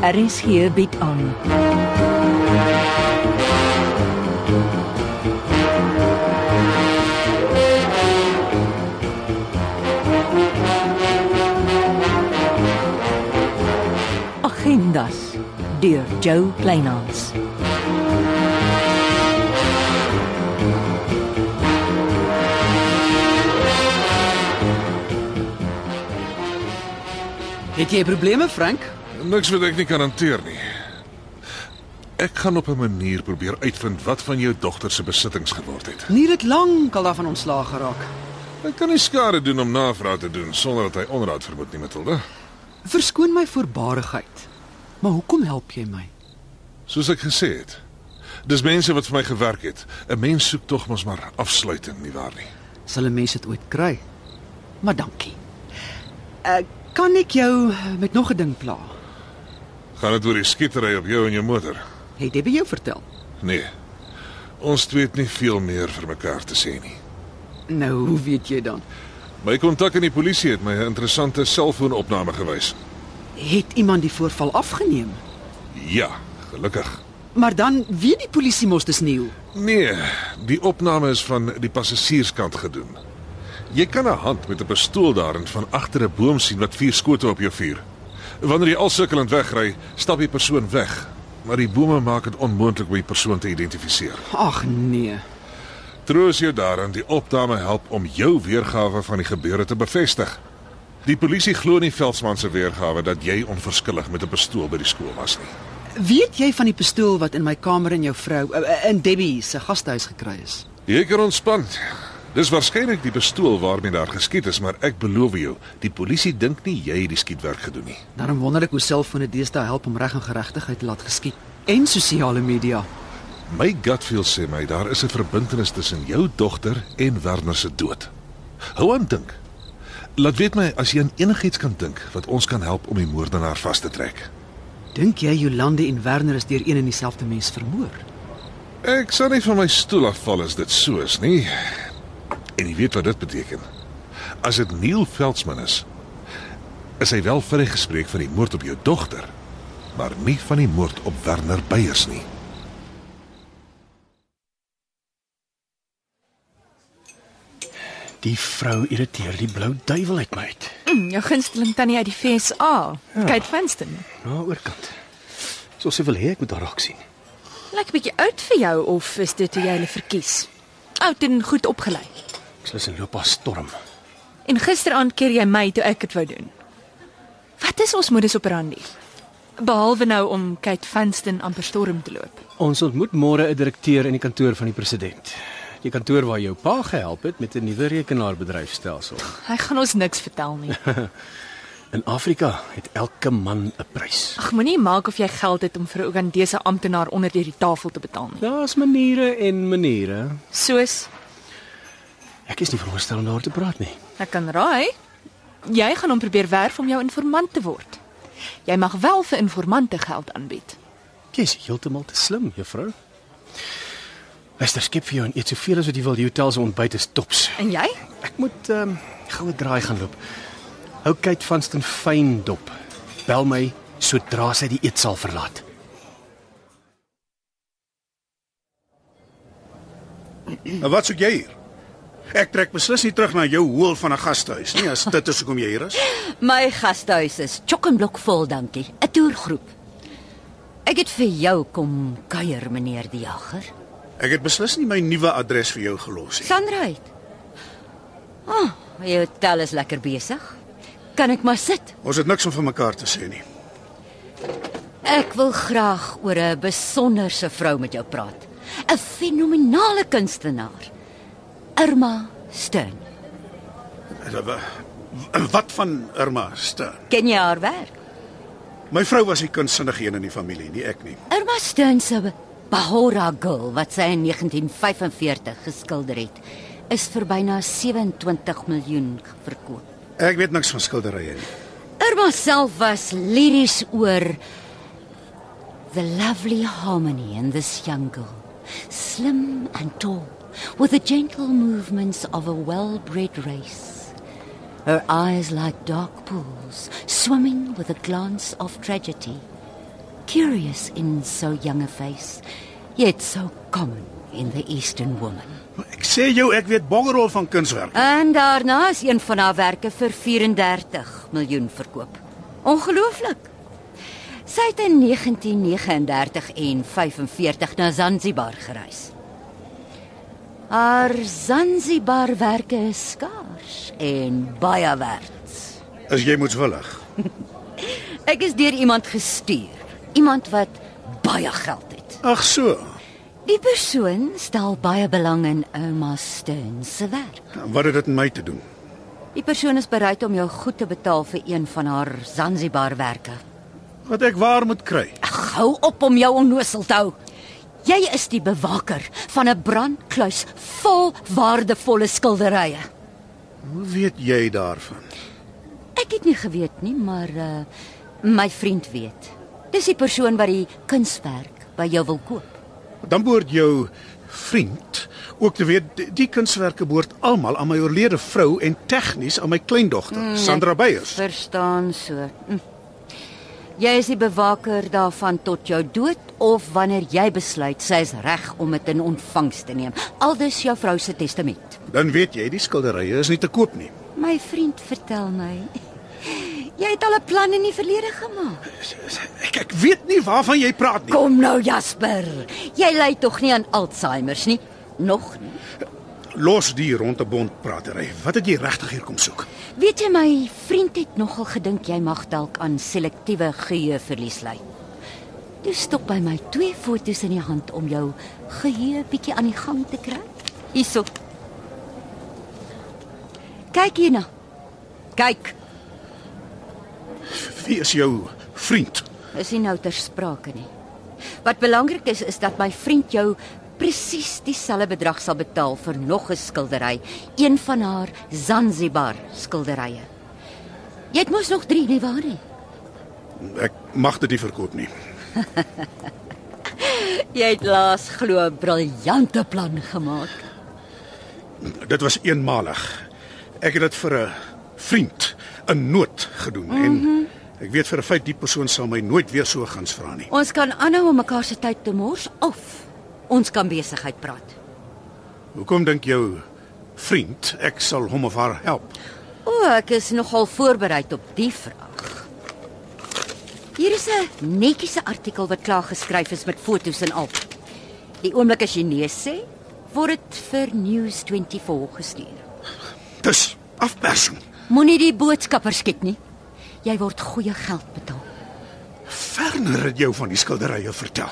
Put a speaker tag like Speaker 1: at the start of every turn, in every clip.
Speaker 1: RSG bied aan. Agendas deur Jo Kleinhans.
Speaker 2: Het jy probleme, Frank?
Speaker 3: Niks wat ek nie kan hanteer nie. Ek gaan op 'n manier probeer uitvind wat van jou dogter se besittings geword het.
Speaker 2: Nier het lank al daarvan ontslaag geraak.
Speaker 3: Ek kan nie skade doen om navraag te doen sonder dat hy onraad vermoed nie, Matilda.
Speaker 2: Verskoon my voorbarigheid. Maar hoekom help jy my?
Speaker 3: Soos ek gesê het. Dis mense wat vir my gewerk het. 'n Mens soek tog mos maar afsluiting, nie waar nie?
Speaker 2: Sal 'n mens dit ooit kry? Maar dankie. Ek kan ek jou met nog 'n ding pla.
Speaker 3: Gaan dit oor die skietery op jou en jou motor?
Speaker 2: Het Debbie jou vertel?
Speaker 3: Nee. Ons twee het nie veel meer vir mekaar te sê nie.
Speaker 2: Nou, hoe weet jy dan?
Speaker 3: My kontak in die polisie het my 'n interessante selfoonopname gewys.
Speaker 2: Het iemand die voorval afgeneem?
Speaker 3: Ja, gelukkig.
Speaker 2: Maar dan weet die polisie mos dis nie.
Speaker 3: Nee, die opname is van die passasierskant gedoen. Jy kan 'n hand met 'n pistool daarin van agter 'n boom sien wat vier skote op jou vuur. Wanneer jy al sukkelend wegry, stap die persoon weg, maar die bome maak dit onmoontlik om die persoon te identifiseer.
Speaker 2: Ag nee.
Speaker 3: Troos jou daarin, die opname help om jou weergawe van die gebeure te bevestig. Die polisie glo nie Veldsmann se weergawe dat jy onverskillig met 'n pistool by die skool was nie.
Speaker 2: Weet jy van die pistool wat in my kamer in jou vrou eh, in Debbie se gastehuis gekry is?
Speaker 3: Jy kan ontspan. Dis waarskynlik die pistool waarmee daar geskiet is, maar ek beloof jou, die polisie dink nie jy het die skietwerk gedoen nie.
Speaker 2: Daarom wonder ek hoe selfone deesdae help om reg en geregtigheid te laat geskied en sosiale media.
Speaker 3: My Gatfield sê my daar is 'n verbintenis tussen jou dogter en Werner se dood. Hou aan dink. Laat weet my as jy aan enigiets kan dink wat ons kan help om die moordenaar vas te trek.
Speaker 2: Dink jy Jolande en Werner is deur een en dieselfde mens vermoor?
Speaker 3: Ek sal nie van my stoel afval as dit so is nie. En jy weet wat dit beteken. As dit Neil Veldsmann is, is hy wel vrygespreek van die moord op jou dogter, maar nie van die moord op Werner Beyers nie.
Speaker 4: Die vrou irriteer die blou duiwel uit my uit.
Speaker 5: Mm, jou gunsteling tannie uit die FSA, ja. Kate Vanston.
Speaker 4: Na nou, oorkant. So sy wil hê ek moet haar raak sien.
Speaker 5: Lyk 'n bietjie oud vir jou of is dit hoe jy hulle verkies? Oud en goed opgelei.
Speaker 4: Ek slis en loop haar storm.
Speaker 5: En gisteraand keer jy my toe ek dit wou doen. Wat is ons modus operandi? Behalwe nou om Kate Vanston amper storm te loop.
Speaker 4: Ons ontmoet môre 'n direkteur in die kantoor van die president. Die kantoor waar jou pa gehelp het met 'n nuwe rekenaarbedryfstelsel.
Speaker 5: Hy gaan ons niks vertel nie.
Speaker 4: In Afrika het elke man 'n prys.
Speaker 5: Ag, moenie maak of jy geld het om vir 'n Ugandese amptenaar onder deur die tafel te betaal nie.
Speaker 4: Daar's maniere en maniere.
Speaker 5: Soos
Speaker 4: Ek is nie veronderstel om daar te praat nie.
Speaker 5: Ek kan raai. Jy gaan hom probeer werf om jou informant te word. Jy mag wel vir informante geld aanbied.
Speaker 4: Jy's heeltemal te slim, juffrou. Luister, skep vir jou en eet soveel as wat jy wil. Die hotel se ontbyt is tops.
Speaker 5: En jy?
Speaker 4: Ek moet ehm um, goue draai gaan loop. Hou kyk vansteen fyn dop. Bel my sodra sy die eetsaal verlaat.
Speaker 6: En Nou, wat soek jy hier? Ek trek beslis nie terug na jou hoel van 'n gastehuis nie, as dit is hoekom jy hier is.
Speaker 7: My gasthuis is chokkenblok vol, dankie. 'n Toergroep. Ek het vir jou kom kuier, meneer die jager.
Speaker 6: Ek het beslis nie my nuwe adres vir jou gelos nie.
Speaker 7: Sandra uit. Ah, oh, jou tel is lekker besig. Kan ek maar sit?
Speaker 6: Ons het niks om vir mekaar te sê nie.
Speaker 7: Ek wil graag oor 'n besonderse vrou met jou praat. 'n Fenominale kunstenaar. Irma Steyn.
Speaker 6: En Eh, wa- Wat van Irma Steyn?
Speaker 7: Ken jy haar werk?
Speaker 6: My vrou was die kunstsinnige een in die familie, nie ek nie.
Speaker 7: Irma Steyn se Bahora Girl wat sy in 1945 geskilder het, is vir byna 27 miljoen verkoop.
Speaker 6: Ek weet niks van skilderye nie.
Speaker 7: Irma self Er was liries oor the lovely harmony in this young girl, slim and tall, with the gentle movements of a well-bred race. Her eyes like dark pools, swimming with a glance of tragedy. Curious in so young a face, yet so common in the Eastern woman.
Speaker 6: Ek sê jou ek weet boggerol van kunswerk.
Speaker 7: En daarna is een van haar werke vir 34 miljoen verkoop. Ongelooflik. Sy het in 1939 en 45 na Zanzibar gereis. Haar Zanzibarwerke is skaars en baie werd.
Speaker 6: As jy moetswillig.
Speaker 7: Ek is deur iemand gestuur, iemand wat baie geld het.
Speaker 6: Ag so.
Speaker 7: Die persoon stel baie belang in ouma Steyn se werk.
Speaker 6: Wat het dit met my te doen?
Speaker 7: Die persoon is bereid om jou goed te betaal vir een van haar Zanzibarwerke.
Speaker 6: Wat ek waar moet kry?
Speaker 7: Ag, hou op om jou onnosel te hou. Jy is die bewaker van 'n brandkluis vol waardevolle skilderye.
Speaker 6: Hoe weet jy daarvan?
Speaker 7: Ek het nie geweet nie, maar uh my vriend weet. Dis die persoon wat die kunswerk by jou wil koop.
Speaker 6: Dan behoort jou vriend ook te weet die- die kunswerke behoort almal aan my oorlede vrou en tegnies aan my kleindogter, Sandra Beyers.
Speaker 7: Verstaan so. Hm. Jy is die bewaker daarvan tot jou dood of wanneer jy besluit sy is reg om dit in ontvangs te neem. Aldus jou vrou se testament.
Speaker 6: Dan weet jy die skilderye is nie te koop nie.
Speaker 7: My vriend vertel my jy het al 'n plan in die verlede gemaak.
Speaker 6: Ek ek weet nie waarvan jy praat nie.
Speaker 7: Kom nou Jasper, jy ly tog nie aan Alzheimer's nie, nog nie.
Speaker 6: Los die ronde bond pratery. Wat het jy regtig hier kom soek?
Speaker 7: Weet jy my vriend het nogal gedink jy mag dalk aan selektiewe geheueverlies ly. Toe stop by my twee fotos in die hand om jou geheue bietjie aan die gang te kry. Hierso. Kyk hierna. Kyk,
Speaker 6: Wie is jou vriend?
Speaker 7: is nie nou ter sprake nie. Wat belangrik is is dat my vriend jou presies dieselfde bedrag sal betaal vir nog 'n skildery, een van haar Zanzibar skilderye. Jy het mos nog 3 nie waar nie?
Speaker 6: Ek mag dit nie verkoop nie.
Speaker 7: Jy het laas glo 'n briljante plan gemaak.
Speaker 6: Dit was eenmalig. Ek het dit vir 'n vriend in nood gedoen en ek weet vir 'n feit die persoon sal my nooit weer so gans vra nie.
Speaker 7: Ons kan aanhou om mekaar se tyd te mors of ons kan besigheid praat.
Speaker 6: Hoekom dink jou vriend ek sal hom of haar help?
Speaker 7: O, ek is nogal voorberei op die vraag. Hier is 'n netjiese artikel wat klaar geskryf is met fotos en al. Die oomblik as jy nee sê, word dit vir News24 gestuur.
Speaker 6: Dis afpersing.
Speaker 7: Moenie die boodskapper skiet nie. Jy word goeie geld betaal.
Speaker 6: Werner het jou van die skilderye vertel.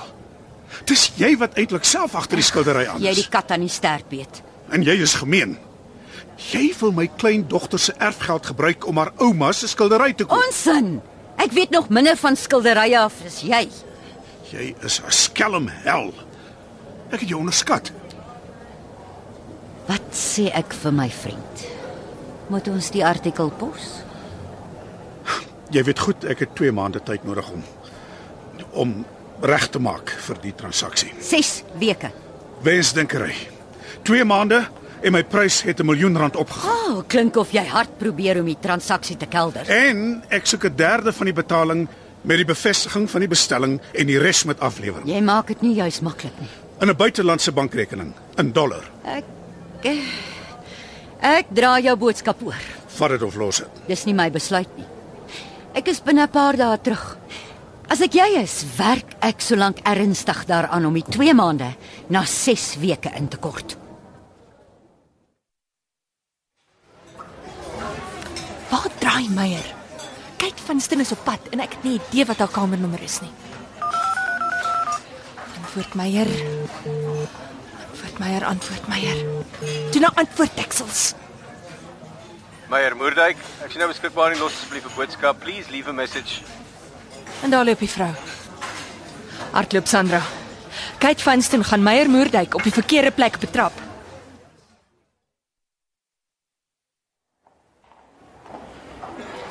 Speaker 6: Dis jy wat eintlik self agter die skildery aan
Speaker 7: Jy het
Speaker 6: is.
Speaker 7: die kat aan die sterk beet.
Speaker 6: En jy is gemeen. Jy wil my kleindogter se erfgeld gebruik om haar ouma se skildery te koop.
Speaker 7: Onsin. Ek weet nog minder van skilderye af as jy.
Speaker 6: Jy is 'n skelm hel. Ek het jou onderskat.
Speaker 7: Wat sê ek vir my vriend? Moet ons die artikel pos?
Speaker 6: Jy weet goed, ek het 2 maande tyd nodig om om reg te maak vir die transaksie.
Speaker 7: 6 weke.
Speaker 6: Wensdinkery. 2 maande en my prys het 'n miljoen rand opgegaan.
Speaker 7: O, oh, klink of jy hard probeer om die transaksie te kelder.
Speaker 6: En ek soek 'n derde van die betaling met die bevestiging van die bestelling en die res met aflewering
Speaker 7: Jy maak dit nie juis maklik nie.
Speaker 6: in 'n buitelandse bankrekening in dollar.
Speaker 7: Ek eh, ek dra jou boodskap oor.
Speaker 6: Vat dit of los dit.
Speaker 7: Dis nie my besluit nie. Ek is binne 'n paar dae terug. As ek jy is, werk ek solank ernstig daaraan om die 2 maande na 6 weke in te kort.
Speaker 5: Waar draai Meyer? Kyk, Vanstin is op pad en ek het nie idee wat haar kamernommer is nie. Antwoord Meyer. Antwoord Meyer, antwoord Meyer. Doen nou antwoord teksels.
Speaker 8: Meyer Moerdijk, ek sien nou beskikbaar en los asseblief 'n boodskap. Please leave a message.
Speaker 5: En daar loop die vrou. Hardloop Sandra. Kate Vanstin gaan Meyer Moerdijk op die verkeerde plek betrap.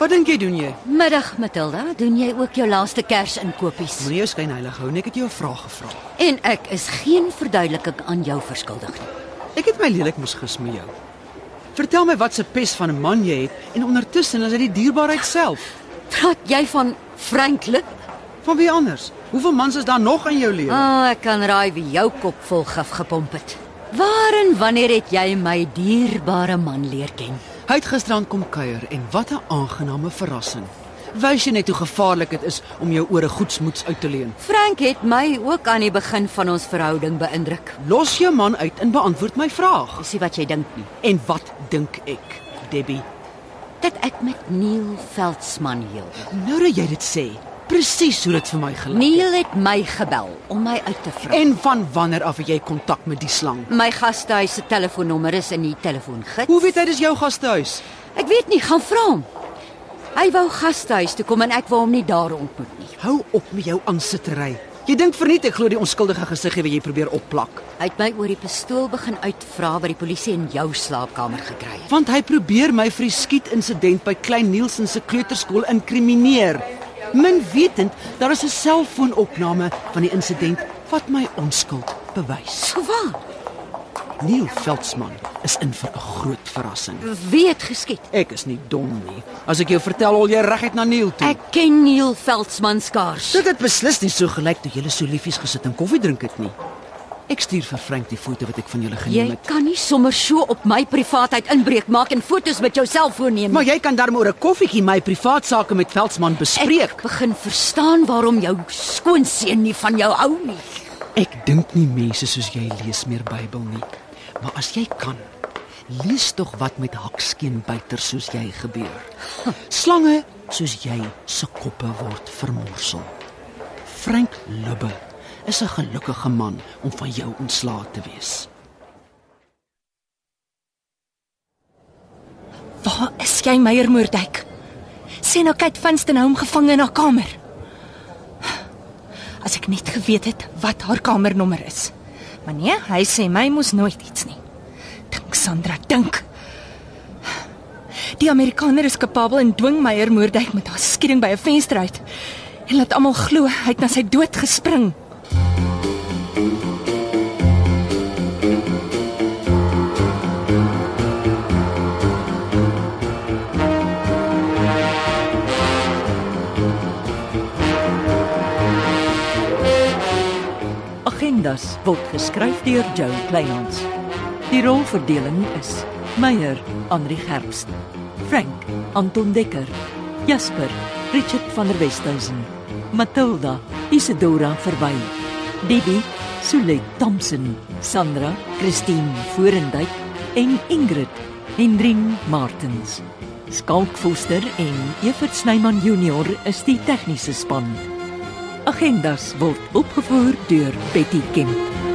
Speaker 2: Wat dink jy doen jy?
Speaker 7: Middag Matilda, doen jy ook jou laaste kersinkopies?
Speaker 2: Moenie jou skyn heilig hou nie, ek het jou 'n vraag gevra.
Speaker 7: En ek is geen verduideliking aan jou verskuldig nie.
Speaker 2: Ek het my lelik moes gesmee jou. Vertel my wat se pes van 'n man jy het en ondertussen is dit die dierbaarheid self.
Speaker 7: Praat jy van Franklin?
Speaker 2: Van wie anders? Hoeveel mans is daar nog in jou lewe?
Speaker 7: Ah, ek kan raai wie jou kop vol gif gepomp het. Waar en wanneer het jy my dierbare man leer ken?
Speaker 2: Hy het gisteraan kom kuier en wat 'n aangename verrassing. Wys jy net hoe gevaarlik dit is om jou ore goedsmoeds uit te leen.
Speaker 7: Frank het my ook aan die begin van ons verhouding beïndruk.
Speaker 2: Los jou man uit en beantwoord my vraag.
Speaker 7: Dis nie wat jy dink nie.
Speaker 2: En wat dink ek, Debbie?
Speaker 7: Dat ek met Neil Veldsmann heel.
Speaker 2: Nou dat jy dit sê, presies hoe dit vir my gelyk het.
Speaker 7: Neil het my gebel om my uit te vra.
Speaker 2: En van wanneer af het jy kontak met die slang?
Speaker 7: My gastehuis se telefoonnommer is in die telefoongids.
Speaker 2: Hoe weet hy dis jou gastehuis?
Speaker 7: Ek weet nie, gaan vra hom. Hy wou gastehuis toe kom en ek wou hom nie daar ontmoet nie.
Speaker 2: Hou op met jou aansittery. Jy dink verniet ek glo die onskuldige gesiggie wat jy probeer opplak,
Speaker 7: Hy het my oor die pistool begin uitvra wat die polisie in jou slaapkamer gekry het.
Speaker 2: want hy probeer my vir die skietinsident by Klein Nielsen se kleuterskool inkrimineer. Min wetend daar is 'n selfoonopname van die insident wat my onskuld bewys.
Speaker 7: So waar?
Speaker 2: Neil Veldsmann is in vir 'n groot verrassing.
Speaker 7: Wie het geskiet?
Speaker 2: Ek is nie dom nie. As ek jou vertel al jy reguit na Neil toe.
Speaker 7: Ek ken Neil Veldsmann skaars.
Speaker 2: Dit het beslis nie so gelyk toe julle so liefies gesit en koffie drink het nie. Ek stuur vir Frank die foto wat ek van julle
Speaker 7: Jy
Speaker 2: geneem het.
Speaker 7: kan nie sommer so op my privaatheid inbreek maak en fotos met jou selfoon neem.
Speaker 2: Maar jy kan darm oor 'n koffietjie my privaat sake met Veldsmann bespreek.
Speaker 7: Ek begin verstaan waarom jou skoonseun nie van jou hou nie.
Speaker 2: Ek, ek dink nie mense soos jy lees meer Bybel nie. Maar as jy kan, lees tog wat met hakskeenbyters soos jy gebeur. Slange soos jy se koppe word vermorsel. Frank Lubbe is 'n gelukkige man om van jou ontslae te wees.
Speaker 5: Waar is jy, Meyer Moerdijk? Sê nou kyk Vanston hou hom gevange in haar kamer. As ek net geweet het wat haar kamernommer is. Maar nee, hy sê my moes nooit iets nie. Dink Sandra, dink. Die Amerikaner is kapabel en dwing Meyer Moerdijk met haar skieding by 'n venster uit. En laat almal glo hy het na sy dood gespring.
Speaker 1: Agendas word geskryf deur Joe Kleinhans. Die rolverdeling is: Meyer, Henri Gerst, Frank, Anton Dekker, Jasper, Richard van der Westhuizen, Matilda, Isidora Verwy, Debbie, Sulet Thompson, Sandra, Christine Forendyk en Ingrid Hendrin Martens. Skalk Foster en Evert Snyman Junior is die tegniese span. Agendas word opgevoer deur Betty Kemp.